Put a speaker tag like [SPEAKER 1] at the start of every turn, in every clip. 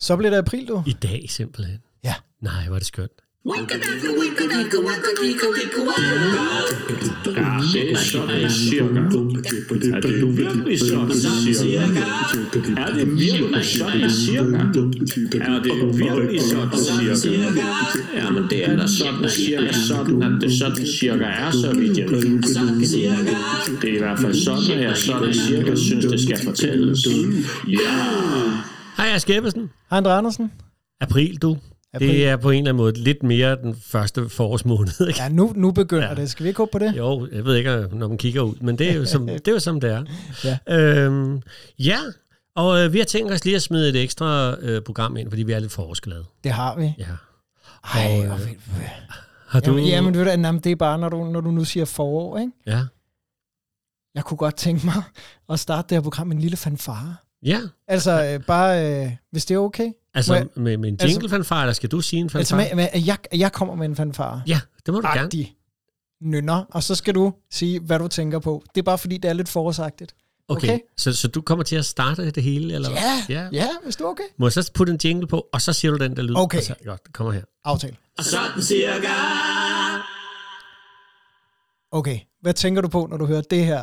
[SPEAKER 1] Så bliver det april, du.
[SPEAKER 2] I dag simpelthen.
[SPEAKER 1] Ja.
[SPEAKER 2] Nej, hvor er det skønt.
[SPEAKER 3] det er sådan, jeg cirka. Er det nu virkelig sådan, cirka? Er det virkelig sådan, cirka? Er det virkelig sådan, cirka? Ja, men det er da sådan, cirka, sådan, at det sådan, cirka er, så vidt jeg ved. Det er i hvert fald sådan, at jeg sådan, cirka synes, det skal fortælles. Ja!
[SPEAKER 2] Hej, jeg er Skæbbesen.
[SPEAKER 1] Hej, Andre Andersen.
[SPEAKER 2] April, du. April.
[SPEAKER 1] April.
[SPEAKER 2] Det er på en eller anden måde lidt mere den første forårsmåned. Ikke?
[SPEAKER 1] Ja, nu, nu begynder ja.
[SPEAKER 2] Ja.
[SPEAKER 1] det. Skal vi ikke håbe på det?
[SPEAKER 2] Jo, jeg ved ikke, når man kigger ud, men det er jo som det er. Jo, som det er.
[SPEAKER 1] Ja.
[SPEAKER 2] Øhm, ja, og øh, vi har tænkt os lige at smide et ekstra øh, program ind, fordi vi er lidt forårsglade.
[SPEAKER 1] Det har vi.
[SPEAKER 2] Ja.
[SPEAKER 1] Ej,
[SPEAKER 2] Og, øh,
[SPEAKER 1] hvor vildt.
[SPEAKER 2] Har du...
[SPEAKER 1] Jamen, jamen ved du, hvad, jamen, det er bare, når du, når du nu siger forår, ikke?
[SPEAKER 2] Ja.
[SPEAKER 1] Jeg kunne godt tænke mig at starte det her program med en lille fanfare.
[SPEAKER 2] ja.
[SPEAKER 1] Altså, øh, bare, øh, hvis det er okay.
[SPEAKER 2] Altså,
[SPEAKER 1] Må jeg-
[SPEAKER 2] med, med en
[SPEAKER 1] altså-
[SPEAKER 2] jingle-fanfare, eller skal du sige en fanfare?
[SPEAKER 1] Altså, med, med, at jeg, at jeg kommer med en fanfare.
[SPEAKER 2] Ja, det må du gerne.
[SPEAKER 1] Agtig nynner, og så skal du sige, hvad du tænker på. Det er bare, fordi det er lidt forårsagtigt.
[SPEAKER 2] Okay,
[SPEAKER 1] Okay.
[SPEAKER 2] okay. Så, så du kommer til at starte det hele, eller hvad?
[SPEAKER 1] ja.
[SPEAKER 2] ja.
[SPEAKER 1] ja hvis du er okay.
[SPEAKER 2] Må jeg så putte en jingle på, og så siger du den der lyd?
[SPEAKER 1] Okay.
[SPEAKER 2] Og så, godt, det kommer her.
[SPEAKER 1] Aftale.
[SPEAKER 3] Sådan cirka.
[SPEAKER 1] Okay, hvad tænker du på, når du hører det her?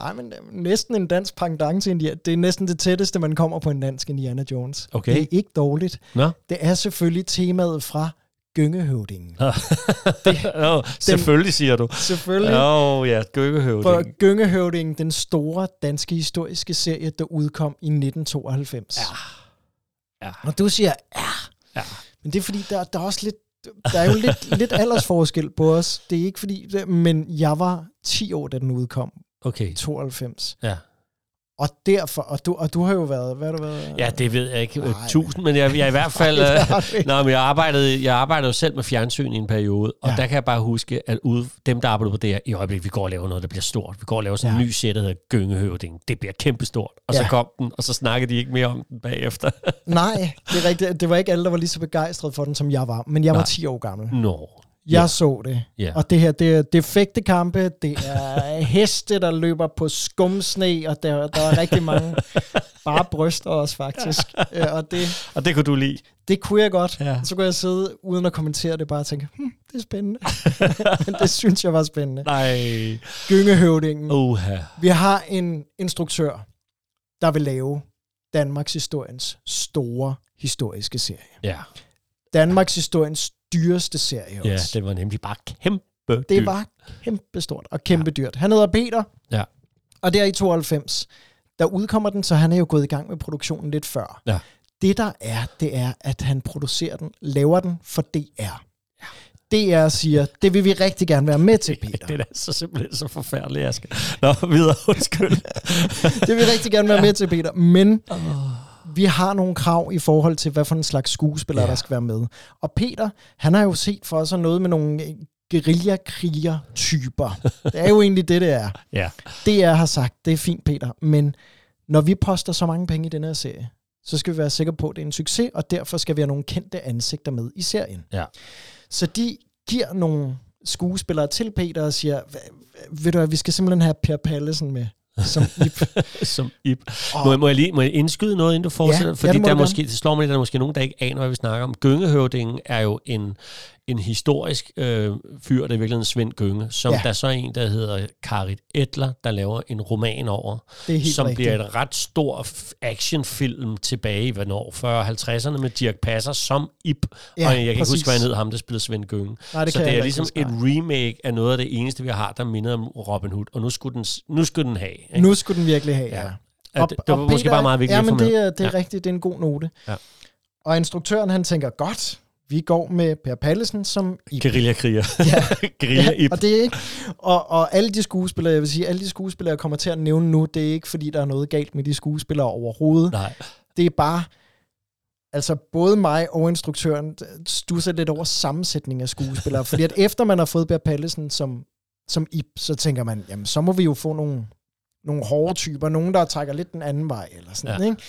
[SPEAKER 1] nej, men det er næsten en dansk pangdang til Indiana. Det er næsten det tætteste, man kommer på en dansk Indiana Jones.
[SPEAKER 4] Okay.
[SPEAKER 1] Det er ikke dårligt.
[SPEAKER 4] Nå,
[SPEAKER 1] Det er selvfølgelig temaet fra Gyngehøvdingen.
[SPEAKER 4] Ah. oh, selvfølgelig siger du.
[SPEAKER 1] Selvfølgelig. Ja.
[SPEAKER 4] Åh oh, ja,
[SPEAKER 1] For
[SPEAKER 4] gykkehøvding.
[SPEAKER 1] Gyngehøvdingen, den store danske historiske serie, der udkom i 1992. Ja.
[SPEAKER 4] Ja.
[SPEAKER 1] Og du siger, ja.
[SPEAKER 4] Ja.
[SPEAKER 1] Men det er fordi, der, der er også lidt, der er jo lidt, lidt aldersforskel på os. Det er ikke fordi, men jeg var 10 år, da den udkom,
[SPEAKER 2] Okay.
[SPEAKER 1] 92.
[SPEAKER 4] Ja.
[SPEAKER 1] Og derfor, og du, og du har jo været, hvad har du været?
[SPEAKER 4] Ja, det ved jeg ikke.
[SPEAKER 1] Nej.
[SPEAKER 4] Nej. Tusind, men jeg, jeg er i hvert fald...
[SPEAKER 1] Nej, det har du
[SPEAKER 4] øh,
[SPEAKER 1] ikke.
[SPEAKER 4] nej, men jeg arbejdede, jeg arbejdede jo selv med fjernsyn i en periode, og
[SPEAKER 1] Ja.
[SPEAKER 4] ja. der kan jeg bare huske, at ude, dem, der arbejder på det her, i øjeblikket, vi går og laver noget, der bliver stort. Vi går og laver sådan ja.
[SPEAKER 1] Ja.
[SPEAKER 4] en ny serie, der hedder Gyngehøvding. Det bliver kæmpestort. Og ja.
[SPEAKER 1] Ja.
[SPEAKER 4] så kom den, og så snakkede de ikke mere om den bagefter.
[SPEAKER 1] Nej, det er rigtigt. Det var ikke alle, der var lige så begejstret for den, som jeg var. Men jeg var
[SPEAKER 4] Nej.
[SPEAKER 1] 10 år gammel.
[SPEAKER 4] Nå.
[SPEAKER 1] Jeg så det.
[SPEAKER 4] Ja.
[SPEAKER 1] Og det her, det er, det er fægte kampe, det er heste, der løber på skumsne, og der, der er rigtig mange bare bryster også faktisk. Øh, Og det,
[SPEAKER 4] Og det kunne du lide.
[SPEAKER 1] det kunne jeg godt.
[SPEAKER 4] Ja.
[SPEAKER 1] Så kunne jeg sidde uden at kommentere det, bare tænke, hm, det er spændende. Men det synes jeg var spændende.
[SPEAKER 4] Nej.
[SPEAKER 1] Gyngehøvdingen.
[SPEAKER 4] Oha.
[SPEAKER 1] Vi har en instruktør, der vil lave Danmarks historiens store historiske serie.
[SPEAKER 4] Ja.
[SPEAKER 1] Danmarks historiens dyreste serie også.
[SPEAKER 4] ja, den var nemlig bare kæmpe dyr.
[SPEAKER 1] Det var kæmpestort og kæmpe ja. dyrt. Han hedder Peter.
[SPEAKER 4] Ja.
[SPEAKER 1] Og det er i 92. Der udkommer den, så han er jo gået i gang med produktionen lidt før.
[SPEAKER 4] Ja.
[SPEAKER 1] Det der er, det er, at han producerer den, laver den for DR. DR siger, det vil vi rigtig gerne være med til, Peter.
[SPEAKER 4] Det er da så simpelthen så forfærdeligt, Asger. Nå, videre, undskyld.
[SPEAKER 1] det vil vi rigtig gerne være med til, Peter. Men vi har nogle krav i forhold til, hvad for en slags skuespiller, ja.
[SPEAKER 4] Ja.
[SPEAKER 1] der skal være med. Og Peter, han har jo set for sig noget med nogle øh, guerillakriger-typer. Det er jo egentlig det, det er.
[SPEAKER 4] ja.
[SPEAKER 1] DR har sagt, det er fint, Peter, men når vi poster så mange penge i den her serie, så skal vi være sikre på, at det er en succes, og derfor skal vi have nogle kendte ansigter med i serien.
[SPEAKER 4] Ja.
[SPEAKER 1] Så de giver nogle skuespillere til Peter og siger, "Hva- hva- ved du hvad, vi skal simpelthen have Per Pallesen med. Som Ip."
[SPEAKER 4] Som Ip. Må, jeg- må, jeg lige, må jeg indskyde noget, inden du fortsætter?
[SPEAKER 1] ja, det må
[SPEAKER 4] Fordi der
[SPEAKER 1] du gerne.
[SPEAKER 4] måske, det slår mig lidt, at der er måske nogen, der ikke aner, hvad vi snakker om. Gyngehøvdingen er jo en, en historisk øh, fyr, der er virkelig en Svend Gynge, som
[SPEAKER 1] Ja.
[SPEAKER 4] ja. der så er en, der hedder Karit Etler, der laver en roman over,
[SPEAKER 1] Det er helt
[SPEAKER 4] som
[SPEAKER 1] rigtigt.
[SPEAKER 4] bliver et ret stor f- actionfilm tilbage i hvornår? 40-50'erne med Dirk Passer som Ip.
[SPEAKER 1] Ja,
[SPEAKER 4] Ja, og jeg kan ikke
[SPEAKER 1] præcis.
[SPEAKER 4] huske, hvad han hed, ham der spillede Svend Gynge.
[SPEAKER 1] Nej, det
[SPEAKER 4] så
[SPEAKER 1] kan jeg
[SPEAKER 4] det er
[SPEAKER 1] heller
[SPEAKER 4] ligesom
[SPEAKER 1] ikke
[SPEAKER 4] et
[SPEAKER 1] huske,
[SPEAKER 4] remake af noget af det eneste, vi har, der minder om Robin Hood. Og nu skulle den, s- nu skulle den have. Ikke?
[SPEAKER 1] Nu skulle den virkelig have, ja.
[SPEAKER 4] Ja. Ja, det, det var måske bare meget vigtigt
[SPEAKER 1] ja,
[SPEAKER 4] at få
[SPEAKER 1] men
[SPEAKER 4] med.
[SPEAKER 1] det, er, det er ja. rigtigt, det er en god note.
[SPEAKER 4] Ja.
[SPEAKER 1] Og instruktøren, han tænker, godt, vi går med Per Pallesen som Ip.
[SPEAKER 4] Guerillakriger. Ja. Guerilla Ip.
[SPEAKER 1] Og det er ikke. Og, og alle de skuespillere, jeg vil sige, alle de skuespillere, jeg kommer til at nævne nu, det er ikke, fordi der er noget galt med de skuespillere overhovedet. Nej.
[SPEAKER 4] Nej.
[SPEAKER 1] Det er bare, altså både mig og instruktøren stusser lidt over sammensætning af skuespillere. fordi at efter man har fået Bær Pallesen som som Ip, så tænker man, jamen så må vi jo få nogle, nogle hårde typer, nogen der trækker lidt den anden vej, eller sådan, ja. ikke?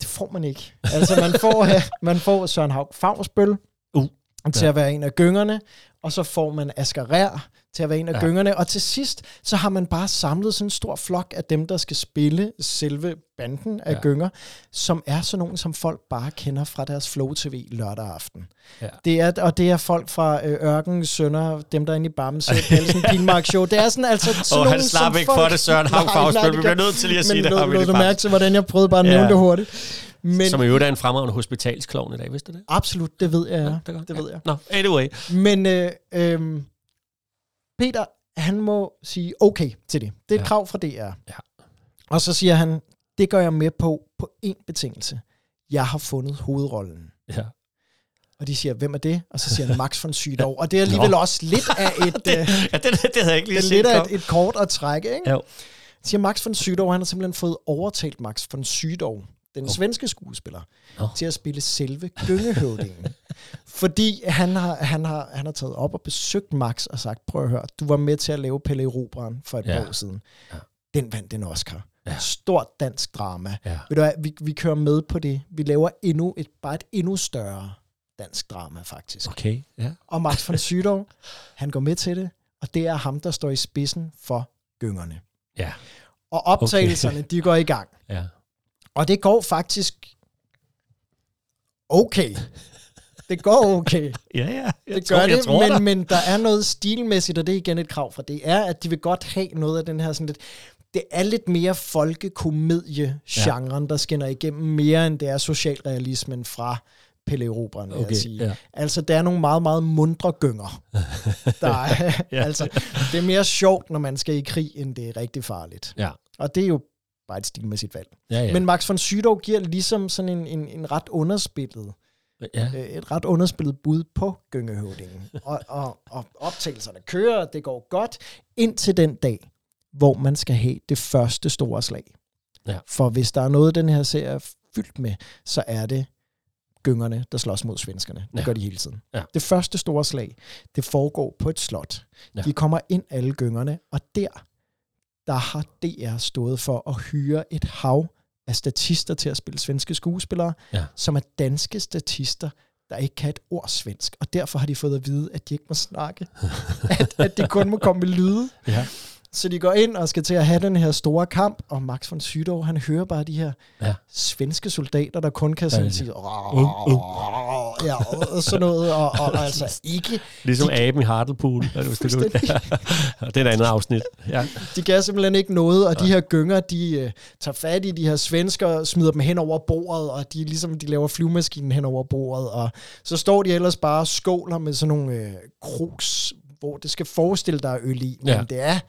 [SPEAKER 1] Det får man ikke. Altså man får, man får Søren Haug Favsbøl
[SPEAKER 4] Uh,
[SPEAKER 1] til
[SPEAKER 4] ja.
[SPEAKER 1] at være en af gyngerne, og så får man Asger Rær til at være en af
[SPEAKER 4] Ja.
[SPEAKER 1] ja. gyngerne, og til sidst, så har man bare samlet sådan en stor flok af dem, der skal spille selve banden af
[SPEAKER 4] Ja.
[SPEAKER 1] ja. gynger, som er sådan nogen, som folk bare kender fra deres Flow TV lørdag aften.
[SPEAKER 4] Ja.
[SPEAKER 1] Det er, og det er folk fra øh, Ørken, Sønder, dem der er inde i Bamse, Pelsen, Pilmark Show. Det er sådan altså sådan
[SPEAKER 4] Og han
[SPEAKER 1] nogen,
[SPEAKER 4] slap
[SPEAKER 1] som
[SPEAKER 4] ikke
[SPEAKER 1] folk-
[SPEAKER 4] for det, Søren Haug
[SPEAKER 1] Nej,
[SPEAKER 4] Fausbøl.
[SPEAKER 1] nej, det
[SPEAKER 4] Vi
[SPEAKER 1] gør-
[SPEAKER 4] bliver nødt til lige at
[SPEAKER 1] men
[SPEAKER 4] sige det,
[SPEAKER 1] lå-
[SPEAKER 4] Hamid
[SPEAKER 1] lå du
[SPEAKER 4] Bamse.
[SPEAKER 1] mærke til, hvordan jeg prøvede bare at nævne
[SPEAKER 4] Ja.
[SPEAKER 1] det hurtigt. Men
[SPEAKER 4] Som i øvrigt er en fremragende hospitalsklovn i dag, vidste du det?
[SPEAKER 1] absolut, det ved jeg. Ja,
[SPEAKER 4] det er godt,
[SPEAKER 1] det
[SPEAKER 4] ja.
[SPEAKER 1] ved jeg.
[SPEAKER 4] Nå, anyway.
[SPEAKER 1] Men øh, øh, Peter, han må sige okay til det. Det er et
[SPEAKER 4] Ja.
[SPEAKER 1] ja. krav fra DR. Ja.
[SPEAKER 4] Ja.
[SPEAKER 1] Og så siger han, det gør jeg med på på én betingelse. Jeg har fundet hovedrollen.
[SPEAKER 4] Ja.
[SPEAKER 1] Og de siger, hvem er det? Og så siger han, Max von Sydow. Og det er alligevel Nå. også lidt af et... øh,
[SPEAKER 4] ja det, det, havde jeg
[SPEAKER 1] det
[SPEAKER 4] ikke lige
[SPEAKER 1] er
[SPEAKER 4] set
[SPEAKER 1] lidt af
[SPEAKER 4] komme.
[SPEAKER 1] et, et kort at trække, ikke?
[SPEAKER 4] Jo.
[SPEAKER 1] Siger Max von Sydow, han har simpelthen fået overtalt Max von Sydow, den oh. svenske skuespiller,
[SPEAKER 4] Nå.
[SPEAKER 1] oh. til at spille selve gyngehøvdingen. Fordi han har, han, har, han har taget op og besøgt Max og sagt, prøv at høre, du var med til at lave Pelle Robran for et
[SPEAKER 4] Ja.
[SPEAKER 1] ja. år siden. Den vandt en Oscar.
[SPEAKER 4] Ja.
[SPEAKER 1] Ja. Stort dansk drama.
[SPEAKER 4] Ja.
[SPEAKER 1] Ved du hvad, vi, vi kører med på det. Vi laver endnu et, bare et endnu større dansk drama, faktisk.
[SPEAKER 4] Okay, ja.
[SPEAKER 1] Og Max von Sydow, han går med til det, og det er ham, der står i spidsen for gyngerne.
[SPEAKER 4] Ja.
[SPEAKER 1] Og optagelserne, okay. de går i gang.
[SPEAKER 4] ja.
[SPEAKER 1] Og det går faktisk okay. Det går okay.
[SPEAKER 4] Ja, ja. Jeg
[SPEAKER 1] Det gør
[SPEAKER 4] jeg
[SPEAKER 1] det, men, men der er noget stilmæssigt, og det er igen et krav fra DR, at de vil godt have noget af den her sådan lidt... Det er lidt mere folkekomedie-genren, ja. der skinner igennem mere, end det er socialrealismen fra Pelle Erobreren, vil okay,
[SPEAKER 4] Okay,
[SPEAKER 1] jeg sige.
[SPEAKER 4] ja.
[SPEAKER 1] Ja. Altså, der er nogle meget, meget mundre gynger. Der er,
[SPEAKER 4] Ja.
[SPEAKER 1] ja. altså, det er mere sjovt, når man skal i krig, end det er rigtig farligt.
[SPEAKER 4] Ja,
[SPEAKER 1] Og det er jo bare et stilmæssigt valg.
[SPEAKER 4] ja, ja.
[SPEAKER 1] Ja. Men Max von Sydow giver ligesom sådan en, en, en ret underspillet
[SPEAKER 4] ja.
[SPEAKER 1] øh, et ret underspillet bud på Gyngehøvdingen. Og, og, og optagelserne kører, og det går godt, indtil den dag, hvor man skal have det første store slag.
[SPEAKER 4] Ja.
[SPEAKER 1] For hvis der er noget, den her serie er fyldt med, så er det gyngerne, der slås mod svenskerne. Det
[SPEAKER 4] Ja.
[SPEAKER 1] ja. gør de hele tiden.
[SPEAKER 4] Ja.
[SPEAKER 1] Det første store slag, det foregår på et slot.
[SPEAKER 4] Ja.
[SPEAKER 1] Ja. De kommer ind alle gyngerne, og der, der har DR stået for at hyre et hav af statister til at spille svenske skuespillere,
[SPEAKER 4] Ja.
[SPEAKER 1] som er danske statister, der ikke kan et ord svensk. Og derfor har de fået at vide, at de ikke må snakke. at, at de kun må komme med lyde.
[SPEAKER 4] Ja.
[SPEAKER 1] Så de går ind og skal til at have den her store kamp, og Max von Sydow, han hører bare de her
[SPEAKER 4] Ja.
[SPEAKER 1] svenske soldater, der kun kan sådan
[SPEAKER 4] ja.
[SPEAKER 1] sige, "Rrrr", ja, og sådan noget, og, og, og altså ikke,
[SPEAKER 4] Ligesom aben i Hartlepool. Er det, hvis det, lyder. Ja. det er et andet afsnit. Ja.
[SPEAKER 1] de kan simpelthen ikke noget, og de her gynger, de øh, tager fat i de her svensker, smider dem hen over bordet, og de ligesom, de laver flyvemaskinen hen over bordet, og så står de ellers bare og skåler med sådan nogle øh, krus, hvor det skal forestille dig øl i, men
[SPEAKER 4] Ja.
[SPEAKER 1] ja. det er...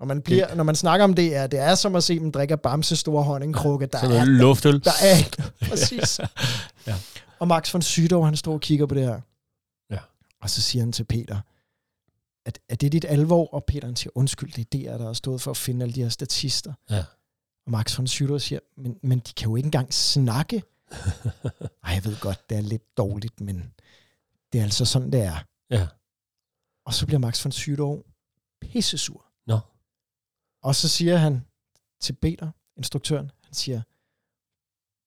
[SPEAKER 1] Når man, bliver, når man snakker om det, er, det er som at se dem drikke af Bamse store honningkrukke. Der
[SPEAKER 4] Sådan
[SPEAKER 1] er
[SPEAKER 4] noget luftøl.
[SPEAKER 1] Der er ikke noget. Præcis.
[SPEAKER 4] Ja.
[SPEAKER 1] ja. Og Max von Sydow, han står og kigger på det her.
[SPEAKER 4] Ja.
[SPEAKER 1] Og så siger han til Peter, at, at det er dit alvor, og Peter han siger, undskyld, det er der, der har stået for at finde alle de her statister.
[SPEAKER 4] Ja.
[SPEAKER 1] Og Max von Sydow siger, men, men de kan jo ikke engang snakke. Ej, jeg ved godt, det er lidt dårligt, men det er altså sådan, det er.
[SPEAKER 4] Ja.
[SPEAKER 1] Og så bliver Max von Sydow pissesur.
[SPEAKER 4] Nå.
[SPEAKER 1] Og så siger han til Peter, instruktøren, han siger,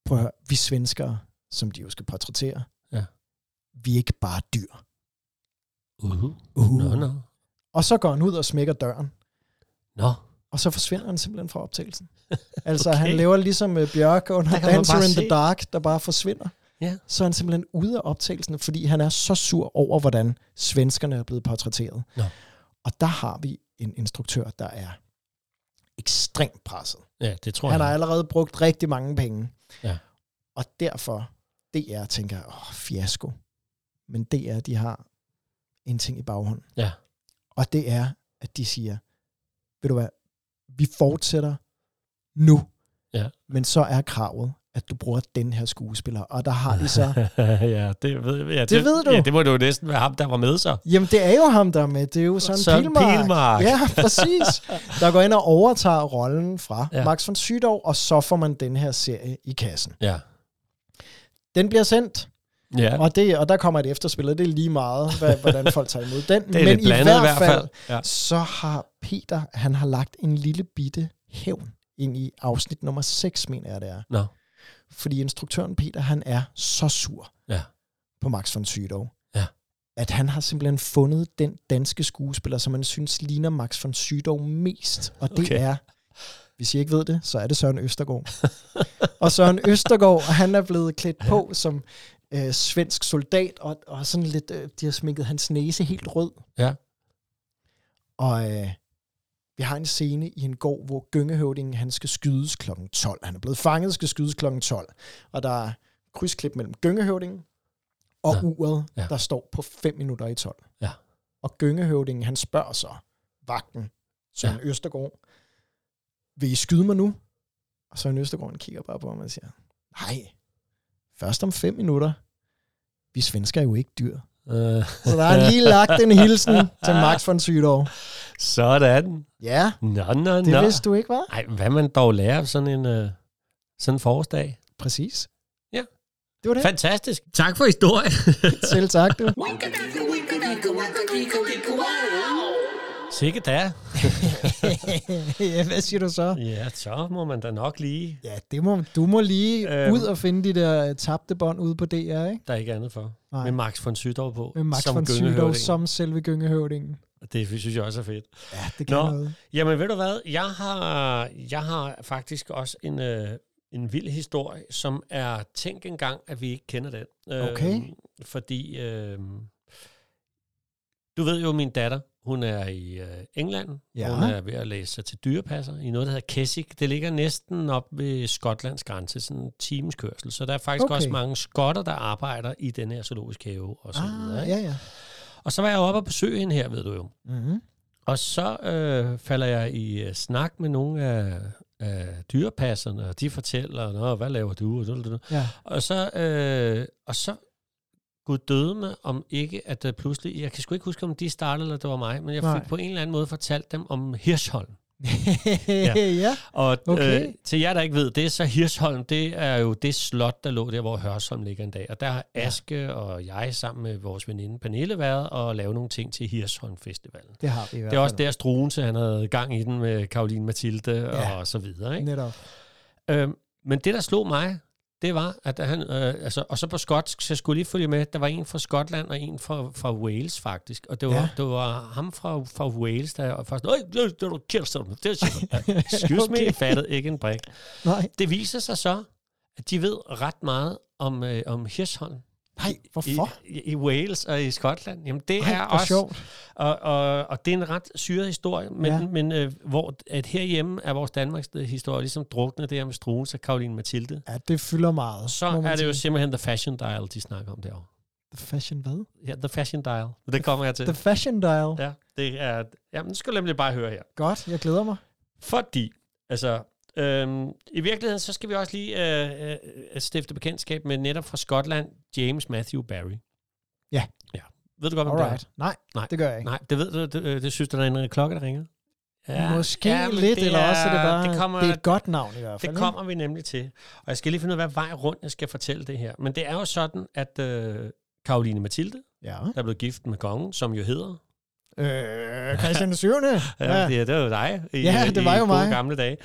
[SPEAKER 1] prøv at høre, vi svenskere, som de jo skal portrættere,
[SPEAKER 4] Ja.
[SPEAKER 1] vi er ikke bare dyr.
[SPEAKER 4] Uh-huh.
[SPEAKER 1] Uh.
[SPEAKER 4] Nå, nå.
[SPEAKER 1] Og så går han ud og smækker døren,
[SPEAKER 4] Nå.
[SPEAKER 1] og så forsvinder han simpelthen fra optagelsen. Altså,
[SPEAKER 4] Okay.
[SPEAKER 1] okay. han laver ligesom øh, Bjørk under
[SPEAKER 4] Der kan man
[SPEAKER 1] Dancer
[SPEAKER 4] bare
[SPEAKER 1] in
[SPEAKER 4] se.
[SPEAKER 1] the Dark, der bare forsvinder.
[SPEAKER 4] Ja.
[SPEAKER 1] Så er han simpelthen ude af optagelsen, fordi han er så sur over, hvordan svenskerne er blevet portrætteret.
[SPEAKER 4] Nå.
[SPEAKER 1] Og der har vi en instruktør, der er ekstremt presset.
[SPEAKER 4] Ja, det tror
[SPEAKER 1] Han
[SPEAKER 4] jeg.
[SPEAKER 1] har allerede brugt rigtig mange penge.
[SPEAKER 4] Ja.
[SPEAKER 1] Og derfor, DR tænker, åh, fiasko. Men DR, de har en ting i baghånden.
[SPEAKER 4] Ja.
[SPEAKER 1] Og det er, at de siger, ved du hvad, vi fortsætter nu.
[SPEAKER 4] Ja.
[SPEAKER 1] Men så er kravet, at du bruger den her skuespiller. Og der har de så...
[SPEAKER 4] ja, det ved, ja, det,
[SPEAKER 1] ved du.
[SPEAKER 4] Ja, det må du jo næsten være ham, der var med så.
[SPEAKER 1] Jamen, det er jo ham, der er med. Det er jo Søren,
[SPEAKER 4] Søren
[SPEAKER 1] Pilmark.
[SPEAKER 4] Pilmark.
[SPEAKER 1] Ja, præcis. Der går ind og overtager rollen fra
[SPEAKER 4] Ja.
[SPEAKER 1] ja. Max von Sydow, og så får man den her serie i kassen.
[SPEAKER 4] Ja.
[SPEAKER 1] Den bliver sendt.
[SPEAKER 4] Ja.
[SPEAKER 1] Og, det, og der kommer et efterspil, og det er lige meget, hvad, hvordan folk tager imod den.
[SPEAKER 4] Det er
[SPEAKER 1] Men
[SPEAKER 4] lidt blandet
[SPEAKER 1] i hvert fald,
[SPEAKER 4] Ja.
[SPEAKER 1] så har Peter, han har lagt en lille bitte hævn ind i afsnit nummer 6, mener jeg det er.
[SPEAKER 4] Nå.
[SPEAKER 1] Fordi instruktøren Peter, han er så sur
[SPEAKER 4] Ja.
[SPEAKER 1] på Max von Sydow,
[SPEAKER 4] Ja.
[SPEAKER 1] at han har simpelthen fundet den danske skuespiller, som han synes ligner Max von Sydow mest. Og det
[SPEAKER 4] Okay.
[SPEAKER 1] okay. er, hvis I ikke ved det, så er det Søren Østergaard. og Søren Østergaard, han er blevet klædt på som øh, svensk soldat, og, og sådan lidt, øh, de har sminket hans næse helt rød.
[SPEAKER 4] Ja.
[SPEAKER 1] Og øh, vi har en scene i en gård, hvor Gyngehøvdingen, han skal skydes kl. 12. Han er blevet fanget, skal skydes kl. 12. Og der er krydsklip mellem Gyngehøvdingen og
[SPEAKER 4] Ja.
[SPEAKER 1] ja. uret,
[SPEAKER 4] Ja.
[SPEAKER 1] ja. der står på 5 minutter i 12.
[SPEAKER 4] Ja.
[SPEAKER 1] Og Gyngehøvdingen, han spørger så vagten, Søren ja. Østergaard, vil I skyde mig nu? Og Søren Østergaard han kigger bare på ham og siger, nej, først om 5 minutter. Vi svensker er jo ikke dyr.
[SPEAKER 4] Øh,
[SPEAKER 1] Så der er lige lagt en hilsen til Max von Sydow.
[SPEAKER 4] sådan.
[SPEAKER 1] Ja,
[SPEAKER 4] Nå, nå,
[SPEAKER 1] det
[SPEAKER 4] nå.
[SPEAKER 1] vidste du ikke, var?
[SPEAKER 4] Ej, hvad man dog lærer af sådan en, øh, sådan en forårsdag.
[SPEAKER 1] Præcis.
[SPEAKER 4] Ja.
[SPEAKER 1] Det var det.
[SPEAKER 4] Fantastisk.
[SPEAKER 2] Tak for historien.
[SPEAKER 1] Selv tak, du.
[SPEAKER 4] Sikke da.
[SPEAKER 1] ja, hvad siger du så?
[SPEAKER 4] Ja, så må man da nok lige.
[SPEAKER 1] Ja, det må, du må lige
[SPEAKER 4] Øhm.
[SPEAKER 1] øhm. ud og finde de der øh, tabte bånd ude på DR, ikke?
[SPEAKER 4] Der er ikke andet for. Nej.
[SPEAKER 1] Nej.
[SPEAKER 4] Med Max von Sydow på.
[SPEAKER 1] Med Max
[SPEAKER 4] som
[SPEAKER 1] von Sydow
[SPEAKER 4] gyngehøvding.
[SPEAKER 1] som selve gyngehøvdingen.
[SPEAKER 4] Det synes jeg også er fedt.
[SPEAKER 1] Ja, det kan
[SPEAKER 4] Nå.
[SPEAKER 1] noget.
[SPEAKER 4] Jamen ved du hvad, jeg har, jeg har faktisk også en, øh, en vild historie, som er tænk engang, at vi ikke kender den. Øh,
[SPEAKER 1] Okay.
[SPEAKER 4] Fordi, øh, du ved jo, min datter, hun er i øh, England.
[SPEAKER 1] Ja.
[SPEAKER 4] Hun er ved at læse sig til dyrepasser i noget, der hedder Keswick. Det ligger næsten op ved Skotlands grænse, sådan en times kørsel. Så der er faktisk okay.
[SPEAKER 1] Okay.
[SPEAKER 4] også mange skotter, der arbejder i den her zoologiske have. Og, så videre,
[SPEAKER 1] Ah,
[SPEAKER 4] ikke?
[SPEAKER 1] ja, ja.
[SPEAKER 4] og så var jeg oppe og besøge hende her, ved du jo.
[SPEAKER 1] Mm-hmm.
[SPEAKER 4] Og så øh, falder jeg i øh, snak med nogle af, af dyrepasserne, og de fortæller, Nå, hvad laver du? Og, du, du, du.
[SPEAKER 1] Ja.
[SPEAKER 4] og så, øh, og så Gud døde mig, om ikke, at øh, pludselig, jeg kan sgu ikke huske, om de startede, eller det var mig, men jeg fik
[SPEAKER 1] Nej.
[SPEAKER 4] på en eller anden måde fortalt dem om Hirsholm.
[SPEAKER 1] ja. ja.
[SPEAKER 4] Og okay.
[SPEAKER 1] Okay.
[SPEAKER 4] øh, til jer, der ikke ved det, så Hirsholm, det er jo det slot, der lå der, hvor Hørsholm ligger en dag. Og der har Aske og jeg sammen med vores veninde Pernille været og lavet nogle ting til Hirsholm-festivalen.
[SPEAKER 1] Det har vi i hvert
[SPEAKER 4] Det er også
[SPEAKER 1] fald.
[SPEAKER 4] der Struense, han havde gang i den med Karoline Mathilde ja.
[SPEAKER 1] Ja.
[SPEAKER 4] og så videre. Ikke?
[SPEAKER 1] Netop.
[SPEAKER 4] Øhm, men det, der slog mig, det var, at han, øh, altså, og så på skotsk, så jeg skulle lige følge med, der var en fra Skotland og en fra, fra Wales faktisk, og det var, ja.
[SPEAKER 1] Ja.
[SPEAKER 4] det var ham fra, fra Wales, der først, Øj, det det er du Kirsten, det er sikkert." Ja, excuse okay. me,
[SPEAKER 1] Okay.
[SPEAKER 4] jeg fattede ikke en brik.
[SPEAKER 1] Nej,
[SPEAKER 4] Det viser sig så, at de ved ret meget om, øh, om Hirsholm.
[SPEAKER 1] nej, hvorfor?
[SPEAKER 4] I, i, I Wales og i Skotland. Jamen, det
[SPEAKER 1] Ej,
[SPEAKER 4] er
[SPEAKER 1] hvor
[SPEAKER 4] også...
[SPEAKER 1] sjovt.
[SPEAKER 4] Og, og, og det er en ret syret historie, men, ja.
[SPEAKER 1] Ja.
[SPEAKER 4] men øh, hvor at herhjemme er vores Danmarks øh, historie ligesom druknet der med Struens og Karoline Mathilde.
[SPEAKER 1] Ja, det fylder meget.
[SPEAKER 4] Så
[SPEAKER 1] må man
[SPEAKER 4] er det jo
[SPEAKER 1] sige.
[SPEAKER 4] simpelthen The Fashion Dial, de snakker om derovre.
[SPEAKER 1] The Fashion hvad?
[SPEAKER 4] Ja, The Fashion Dial. Det kommer jeg til.
[SPEAKER 1] The Fashion Dial. Ja.
[SPEAKER 4] Ja, det er... Jamen, nu skal du nemlig bare høre her.
[SPEAKER 1] Godt, jeg glæder mig.
[SPEAKER 4] Fordi, altså, øhm, i virkeligheden, så skal vi også lige øh, øh, stifte bekendtskab med netop fra Skotland, James Matthew Barry.
[SPEAKER 1] Ja.
[SPEAKER 4] ja. Ved du godt, hvem det er?
[SPEAKER 1] Alright. Nej,
[SPEAKER 4] Nej.
[SPEAKER 1] nej, det gør jeg ikke.
[SPEAKER 4] Nej, det ved du, det, øh, det synes du, der er en klokke, der ringer?
[SPEAKER 1] Måske
[SPEAKER 4] men
[SPEAKER 1] lidt, eller også er det bare...
[SPEAKER 4] Det kommer,
[SPEAKER 1] det er
[SPEAKER 4] det,
[SPEAKER 1] et godt navn i hvert fald.
[SPEAKER 4] det kommer vi nemlig til. Og jeg skal lige finde ud af, hvad vej rundt jeg skal fortælle det her. Men det er jo sådan, at øh, Karoline Mathilde,
[SPEAKER 1] ikke? Ja.
[SPEAKER 4] der blev gift med kongen, som jo hedder...
[SPEAKER 1] Øh, Christian 7.
[SPEAKER 4] Ja, ja. Det, det var jo dig i,
[SPEAKER 1] Ja,
[SPEAKER 4] øh,
[SPEAKER 1] det var
[SPEAKER 4] i
[SPEAKER 1] jo
[SPEAKER 4] gode
[SPEAKER 1] mig.
[SPEAKER 4] gamle dage.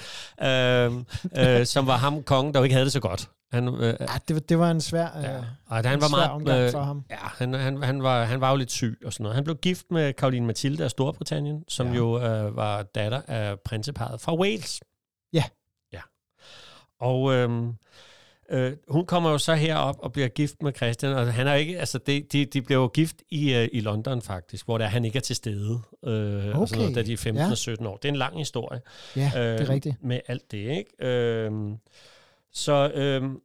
[SPEAKER 4] Øh, øh, som var ham kongen, der jo ikke havde det så godt. Han, øh,
[SPEAKER 1] Ja, det, var- det var en svær, øh,
[SPEAKER 4] Ja.
[SPEAKER 1] ja.
[SPEAKER 4] Og han
[SPEAKER 1] en
[SPEAKER 4] var
[SPEAKER 1] svær
[SPEAKER 4] meget,
[SPEAKER 1] omgang
[SPEAKER 4] øh,
[SPEAKER 1] for ham.
[SPEAKER 4] Ja, han, han, han, var, han var jo lidt syg og sådan noget. Han blev gift med Karoline Mathilde af Storbritannien, som ja.
[SPEAKER 1] Ja.
[SPEAKER 4] jo øh, var datter af prinseparet fra Wales.
[SPEAKER 1] Ja.
[SPEAKER 4] Ja. Og øhm, øh, hun kommer jo så herop og bliver gift med Christian, og han er jo ikke, altså det, de, de bliver jo gift i, øh, i London faktisk, hvor der han ikke er til stede, øh, okay. og
[SPEAKER 1] Okay,
[SPEAKER 4] sådan noget, da de er 15 ja.
[SPEAKER 1] ja.
[SPEAKER 4] og 17 år. Det er en lang historie
[SPEAKER 1] ja, det er
[SPEAKER 4] øh,
[SPEAKER 1] rigtigt.
[SPEAKER 4] Med alt det, ikke? Øhm, så, øhm,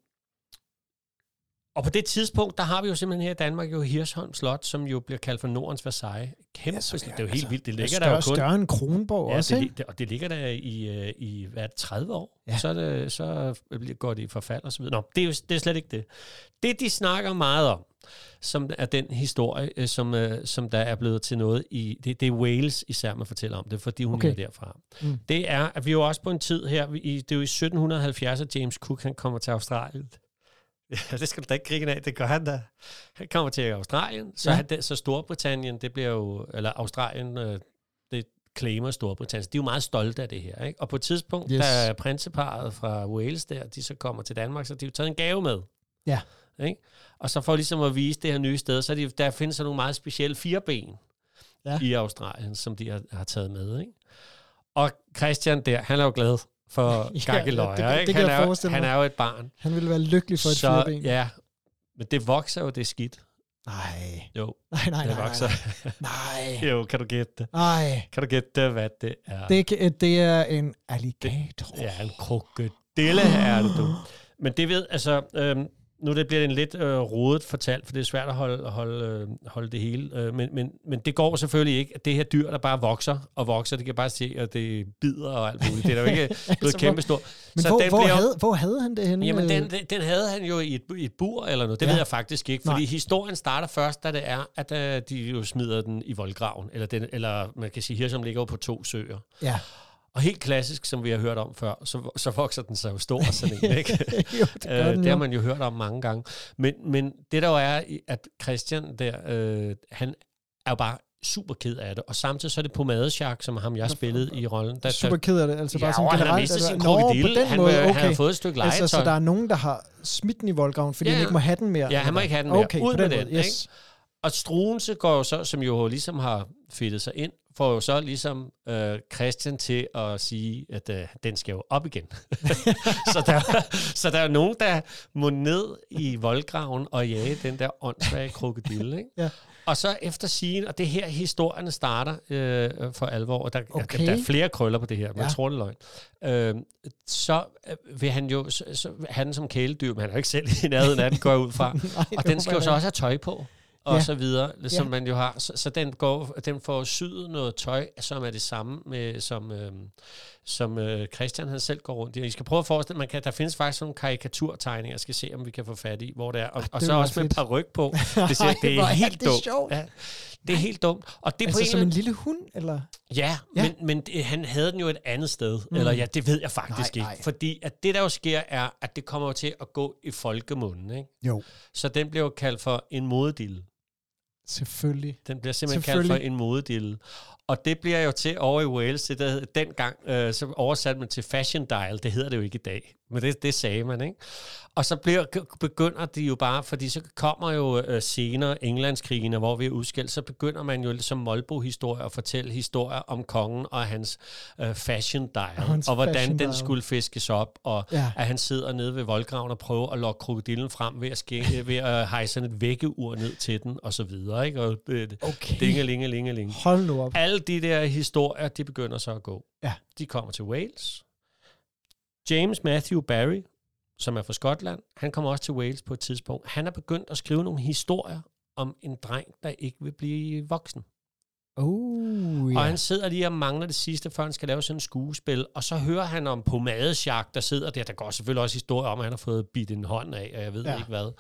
[SPEAKER 4] og på det tidspunkt, der har vi jo simpelthen her i Danmark jo Hirsholm Slot, som jo bliver kaldt for Nordens Versailles. Kæmpe, ja,
[SPEAKER 1] Ja, så-
[SPEAKER 4] det er jo helt
[SPEAKER 1] altså,
[SPEAKER 4] vildt. Det
[SPEAKER 1] Det er
[SPEAKER 4] ligger der jo
[SPEAKER 1] større,
[SPEAKER 4] kun...
[SPEAKER 1] større end Kronborg ja, også,
[SPEAKER 4] det,
[SPEAKER 1] ikke?
[SPEAKER 4] lig- det, og det ligger der i, øh, i hvad, er det, 30 år. Ja.
[SPEAKER 1] Ja.
[SPEAKER 4] Så, er det, så bliver- går det i forfald og så videre. Nå, det er jo det er slet ikke det. Det, de snakker meget om, som er den historie, øh, som, øh, som der er blevet til noget i... Det, det er Wales især, man fortæller om det, fordi hun okay.
[SPEAKER 1] Okay.
[SPEAKER 4] er derfra. Mm.
[SPEAKER 1] Mm.
[SPEAKER 4] Det er, at vi er jo også på en tid her... vi- I, det er jo i 1770, at James Cook han kommer til Australien. Ja, det skal du da ikke grine af, det gør han da. Han kommer til Australien, så,
[SPEAKER 1] Ja.
[SPEAKER 4] ja. han, det- så Storbritannien, det bliver jo, eller Australien, øh, det claimer Storbritannien. Så De er jo meget stolte af det her, ikke? Og på et tidspunkt,
[SPEAKER 1] Yes.
[SPEAKER 4] yes. da prinseparet fra Wales der, de så kommer til Danmark, så de har jo taget en gave med.
[SPEAKER 1] Ja.
[SPEAKER 4] Ikke? Og så for ligesom at vise det her nye sted, så er de, der findes der nogle meget specielle fireben
[SPEAKER 1] Ja.
[SPEAKER 4] ja. i Australien, som de har, har taget med, ikke? Og Christian der, han er jo glad for
[SPEAKER 1] det-
[SPEAKER 4] ja, gakkeløjer,
[SPEAKER 1] det kan-
[SPEAKER 4] ikke?
[SPEAKER 1] det kan
[SPEAKER 4] han,
[SPEAKER 1] jeg
[SPEAKER 4] er, jo-
[SPEAKER 1] forestille
[SPEAKER 4] han
[SPEAKER 1] mig.
[SPEAKER 4] er jo et barn.
[SPEAKER 1] Han ville være lykkelig for et
[SPEAKER 4] Så,
[SPEAKER 1] fireben.
[SPEAKER 4] ja, men det vokser jo, det er skidt.
[SPEAKER 1] Nej,
[SPEAKER 4] Jo,
[SPEAKER 1] nej, nej,
[SPEAKER 4] det
[SPEAKER 1] nej,
[SPEAKER 4] vokser.
[SPEAKER 1] nej, nej,
[SPEAKER 4] jo, kan du gætte det?
[SPEAKER 1] nej.
[SPEAKER 4] Kan du gætte det, hvad det er?
[SPEAKER 1] Det, kan- det er en alligator.
[SPEAKER 4] Ja, en krokodille er det, du. Men det ved, altså, øhm, nu det bliver det en lidt øh, rodet fortalt, for det er svært at holde, holde, øh, holde det hele. Øh, men, men, men det går selvfølgelig ikke, at det her dyr, der bare vokser og vokser, det kan jeg bare se, at det bider og alt muligt. Det er da jo ikke blevet
[SPEAKER 1] hvor-
[SPEAKER 4] kæmpestort.
[SPEAKER 1] Men
[SPEAKER 4] Så
[SPEAKER 1] hvor,
[SPEAKER 4] den
[SPEAKER 1] hvor,
[SPEAKER 4] bliver-
[SPEAKER 1] havde, hvor havde han det henne?
[SPEAKER 4] Jamen,
[SPEAKER 1] øh?
[SPEAKER 4] den, den- den havde han jo i et, bu- i et bur eller noget. Det
[SPEAKER 1] Ja.
[SPEAKER 4] ja. ved jeg faktisk ikke, fordi
[SPEAKER 1] Nej.
[SPEAKER 4] Nej. historien starter først, da det er, at uh, de jo smider den i voldgraven. Eller, den, eller man kan sige, Hirschholm ligger jo på to søer.
[SPEAKER 1] Ja.
[SPEAKER 4] Og helt klassisk, som vi har hørt om før, så, så vokser den sig jo stor, sådan en, ikke?
[SPEAKER 1] jo, det gør
[SPEAKER 4] Øh,
[SPEAKER 1] den
[SPEAKER 4] det
[SPEAKER 1] jo.
[SPEAKER 4] har man jo hørt om mange gange. Men, men det der jo er, i- at Christian der, øh, han er jo bare super ked af det. Og samtidig så er det Pomadeshark, som ham jeg spillede i rollen. Der,
[SPEAKER 1] Super ked af det. Altså
[SPEAKER 4] ja,
[SPEAKER 1] bare sådan
[SPEAKER 4] og han
[SPEAKER 1] generelt.
[SPEAKER 4] har mistet
[SPEAKER 1] at-
[SPEAKER 4] sin
[SPEAKER 1] Nå,
[SPEAKER 4] krokodille.
[SPEAKER 1] på den
[SPEAKER 4] han,
[SPEAKER 1] måde,
[SPEAKER 4] øh,
[SPEAKER 1] okay.
[SPEAKER 4] han har fået et stykke legetøj.
[SPEAKER 1] Altså, så der er nogen, der har smidt den i voldgraven, fordi
[SPEAKER 4] Ja,
[SPEAKER 1] ja. han ikke må have den mere?
[SPEAKER 4] Ja, han må
[SPEAKER 1] eller
[SPEAKER 4] ikke have den
[SPEAKER 1] hvad?
[SPEAKER 4] mere.
[SPEAKER 1] Okay,
[SPEAKER 4] Ud
[SPEAKER 1] på
[SPEAKER 4] med
[SPEAKER 1] den
[SPEAKER 4] den,
[SPEAKER 1] måde. Yes.
[SPEAKER 4] Og Struense går jo så, som jo ligesom har fedtet sig ind, får jo så ligesom øh, Christian til at sige, at øh, den skal jo op igen. så, der, så der er nogen, der må ned i voldgraven og jage den der åndssvage krokodille. Ikke?
[SPEAKER 1] Ja.
[SPEAKER 4] Og så efter sigende, og det er her historierne starter øh, for alvor, og der,
[SPEAKER 1] Okay.
[SPEAKER 4] okay. der er flere krøller på det her, man
[SPEAKER 1] Ja.
[SPEAKER 4] ja. tror det er løgn. Øh, så øh, vil han jo, så, så, han som kæledyr, men han er jo ikke selv i nærheden af den, går jeg ud fra.
[SPEAKER 1] Nej, det
[SPEAKER 4] Og den
[SPEAKER 1] håber
[SPEAKER 4] skal jo
[SPEAKER 1] jeg
[SPEAKER 4] så
[SPEAKER 1] da
[SPEAKER 4] også have tøj på, og
[SPEAKER 1] Ja.
[SPEAKER 4] ja. så videre, som
[SPEAKER 1] Ja.
[SPEAKER 4] ja. man jo har. Så, så den, går, den får syet noget tøj, som er det samme, med, som, øh, som øh, Christian han selv går rundt i. Og I skal prøve at forestille, man kan, der findes faktisk nogle karikaturtegninger, jeg skal se, om vi kan få fat i, hvor det er. Og, og
[SPEAKER 1] Ah, det
[SPEAKER 4] så
[SPEAKER 1] var
[SPEAKER 4] også med
[SPEAKER 1] fedt.
[SPEAKER 4] par ryg på. Det,
[SPEAKER 1] Ej,
[SPEAKER 4] siger, Ej, det
[SPEAKER 1] hvor
[SPEAKER 4] er
[SPEAKER 1] er
[SPEAKER 4] helt
[SPEAKER 1] det
[SPEAKER 4] dumt.
[SPEAKER 1] sjovt.
[SPEAKER 4] Ja, det er helt dumt. Og det er
[SPEAKER 1] Altså
[SPEAKER 4] på en
[SPEAKER 1] som
[SPEAKER 4] eller
[SPEAKER 1] en lille hund, eller?
[SPEAKER 4] Ja,
[SPEAKER 1] Ja.
[SPEAKER 4] ja. men, men det- han havde den jo et andet sted. Mm. Eller ja, det ved jeg faktisk
[SPEAKER 1] Nej,
[SPEAKER 4] nej, ikke.
[SPEAKER 1] nej.
[SPEAKER 4] Nej. Fordi at det, der jo sker, er, at det kommer jo til at gå i folkemunden. Ikke?
[SPEAKER 1] Jo,
[SPEAKER 4] Så den bliver jo kaldt for en modedille.
[SPEAKER 1] selvfølgelig.
[SPEAKER 4] Den bliver simpelthen kaldt for
[SPEAKER 1] Selvfølgelig.
[SPEAKER 4] en modedille. Og det bliver jo til over i Wales, det der hed, dengang, øh, så oversatte man til fashion dial, det hedder det jo ikke i dag, men det, det sagde man, ikke? Og så bliver, begynder de jo bare, fordi så kommer jo øh, senere Englandskrigene, hvor vi er udskilt, så begynder man jo som Molbo-historie at fortælle historier om kongen og hans øh, fashion dial,
[SPEAKER 1] Og
[SPEAKER 4] og,
[SPEAKER 1] hans
[SPEAKER 4] og hvordan
[SPEAKER 1] fashion
[SPEAKER 4] den
[SPEAKER 1] dial.
[SPEAKER 4] skulle fiskes op, og
[SPEAKER 1] Ja.
[SPEAKER 4] ja. at han sidder nede ved voldgraven og prøver at lokke krokodillen frem ved at, ske, ved at hejse sådan et vækkeur ned til den, og så videre, ikke? Og, øh,
[SPEAKER 1] Okay.
[SPEAKER 4] Dinge, linge, linge, linge.
[SPEAKER 1] Hold nu op.
[SPEAKER 4] Alle de der historier, de begynder så at gå.
[SPEAKER 1] Ja.
[SPEAKER 4] De kommer til Wales. James Matthew Barry, som er fra Skotland, han kommer også til Wales på et tidspunkt. Han er begyndt at skrive nogle historier om en dreng, der ikke vil blive voksen.
[SPEAKER 1] Oh,
[SPEAKER 4] Ja.
[SPEAKER 1] ja.
[SPEAKER 4] Og han sidder lige og mangler det sidste, før han skal lave sådan en skuespil. Og så hører han om pomadesjak, der sidder der. Der går selvfølgelig også historier om, at han har fået bidt en hånd af, og jeg ved
[SPEAKER 1] Ja.
[SPEAKER 4] ja. ikke hvad.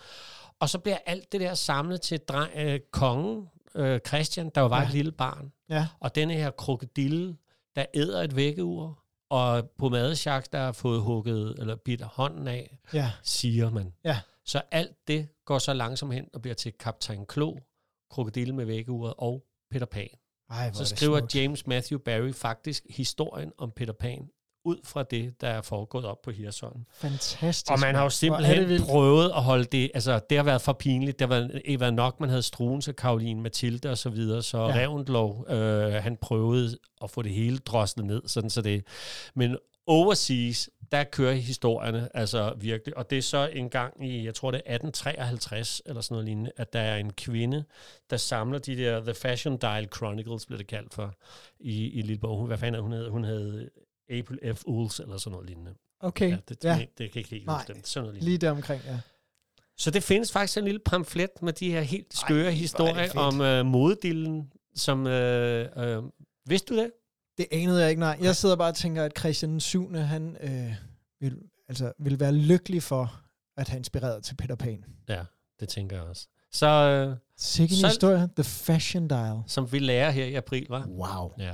[SPEAKER 4] Og så bliver alt det der samlet til dreng, øh, kongen, øh, Christian, der jo var
[SPEAKER 1] Ja.
[SPEAKER 4] ja. et lille barn.
[SPEAKER 1] Ja.
[SPEAKER 4] Og denne her krokodille, der æder et vækkeur, og pomadesjak, der har fået hugget eller bidt hånden af,
[SPEAKER 1] ja.
[SPEAKER 4] siger man.
[SPEAKER 1] Ja.
[SPEAKER 4] Så alt det går så langsomt hen og bliver til Kaptajn Klo, krokodille med vækkeuret og Peter Pan.
[SPEAKER 1] Ej, hvor
[SPEAKER 4] Så
[SPEAKER 1] er det
[SPEAKER 4] skriver
[SPEAKER 1] smukt.
[SPEAKER 4] James Matthew Barry faktisk historien om Peter Pan ud fra det, der er foregået op på Hirsholm.
[SPEAKER 1] Fantastisk.
[SPEAKER 4] Og man har jo
[SPEAKER 1] Hvor er det
[SPEAKER 4] simpelthen
[SPEAKER 1] vildt.
[SPEAKER 4] prøvet at holde det, altså det har været for pinligt, det har været, ikke været nok, man havde Struens og Karoline Mathilde og så videre, så
[SPEAKER 1] Ja.
[SPEAKER 4] ja. Revendlov, øh, han prøvede at få det hele droslet ned, sådan så det, men overseas, der kører historierne altså virkelig, og det er så en gang i, jeg tror det er 1853 eller sådan noget lignende, at der er en kvinde, der samler de der The Fashion Dial Chronicles, blev det kaldt for, i, i Lilleborg. Hun- Hvad fanden er hun hed? Hun hed April F. Ools eller sådan noget lignende.
[SPEAKER 1] Okay,
[SPEAKER 4] Ja, det,
[SPEAKER 1] ja.
[SPEAKER 4] ja. det, det kan jeg ikke
[SPEAKER 1] Nej.
[SPEAKER 4] huske. den. Sådan noget lignende.
[SPEAKER 1] Lige der omkring, ja.
[SPEAKER 4] Så det findes faktisk en lille pamflet med de her helt skøre Ej,
[SPEAKER 1] fedt.
[SPEAKER 4] historier om øh, modedillen, som... Øh, øh, vidste du det?
[SPEAKER 1] Det anede jeg ikke, nej. Jeg sidder bare og tænker, at Christian den 7. han øh, vil, altså, vil være lykkelig for at have inspireret til Peter Pan.
[SPEAKER 4] Ja, det tænker jeg også. Så øh,
[SPEAKER 1] Sikke en
[SPEAKER 4] Så-
[SPEAKER 1] historie. The Fashion Dial.
[SPEAKER 4] som vi lærer her i april, var.
[SPEAKER 1] Wow.
[SPEAKER 4] Ja.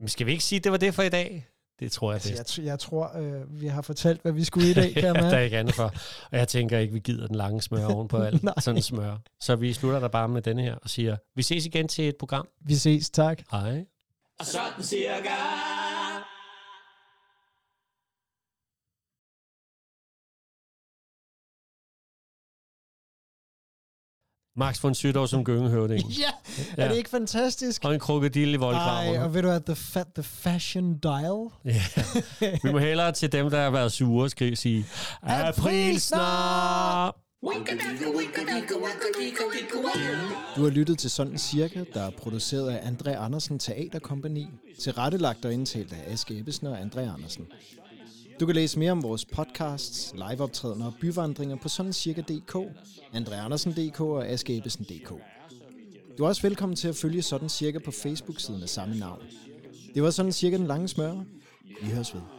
[SPEAKER 4] Men skal vi ikke sige, at det var det for i dag? Det tror jeg
[SPEAKER 1] Altså,
[SPEAKER 4] bedst.
[SPEAKER 1] jeg, t- jeg tror, øh, vi har fortalt, hvad vi skulle i dag, kan jeg
[SPEAKER 4] Ja, der er
[SPEAKER 1] mærke.
[SPEAKER 4] ikke andet for. Og jeg tænker ikke, vi gider den lange smør oven på alt
[SPEAKER 1] Nej.
[SPEAKER 4] sådan smør. Så vi slutter der bare med denne her og siger, vi ses igen til et program.
[SPEAKER 1] Vi ses, tak.
[SPEAKER 4] Hej.
[SPEAKER 3] Og sådan cirka.
[SPEAKER 4] Max von Sydow som gyngehøvding.
[SPEAKER 1] Ja, er det ikke fantastisk?
[SPEAKER 4] Og en krokodil i
[SPEAKER 1] Ej,
[SPEAKER 4] voldkraven.
[SPEAKER 1] og ved du, at the, fa- the fashion dial
[SPEAKER 4] Vi må hellere til dem, der har været sure, skrive sige, April snart!
[SPEAKER 5] Du har lyttet til Sådan Cirka, der er produceret af André Andersen Teaterkompagni, tilrettelagt og indtalt af Aske Ebbesen og André Andersen. Du kan læse mere om vores podcasts, liveoptrædener og byvandringer på sådancirka.dk, andreandersen.dk og askeebbesen.dk. Du er også velkommen til at følge Sådan Cirka på Facebook-siden af samme navn. Det var Sådan Cirka den lange smør. Vi høres ved.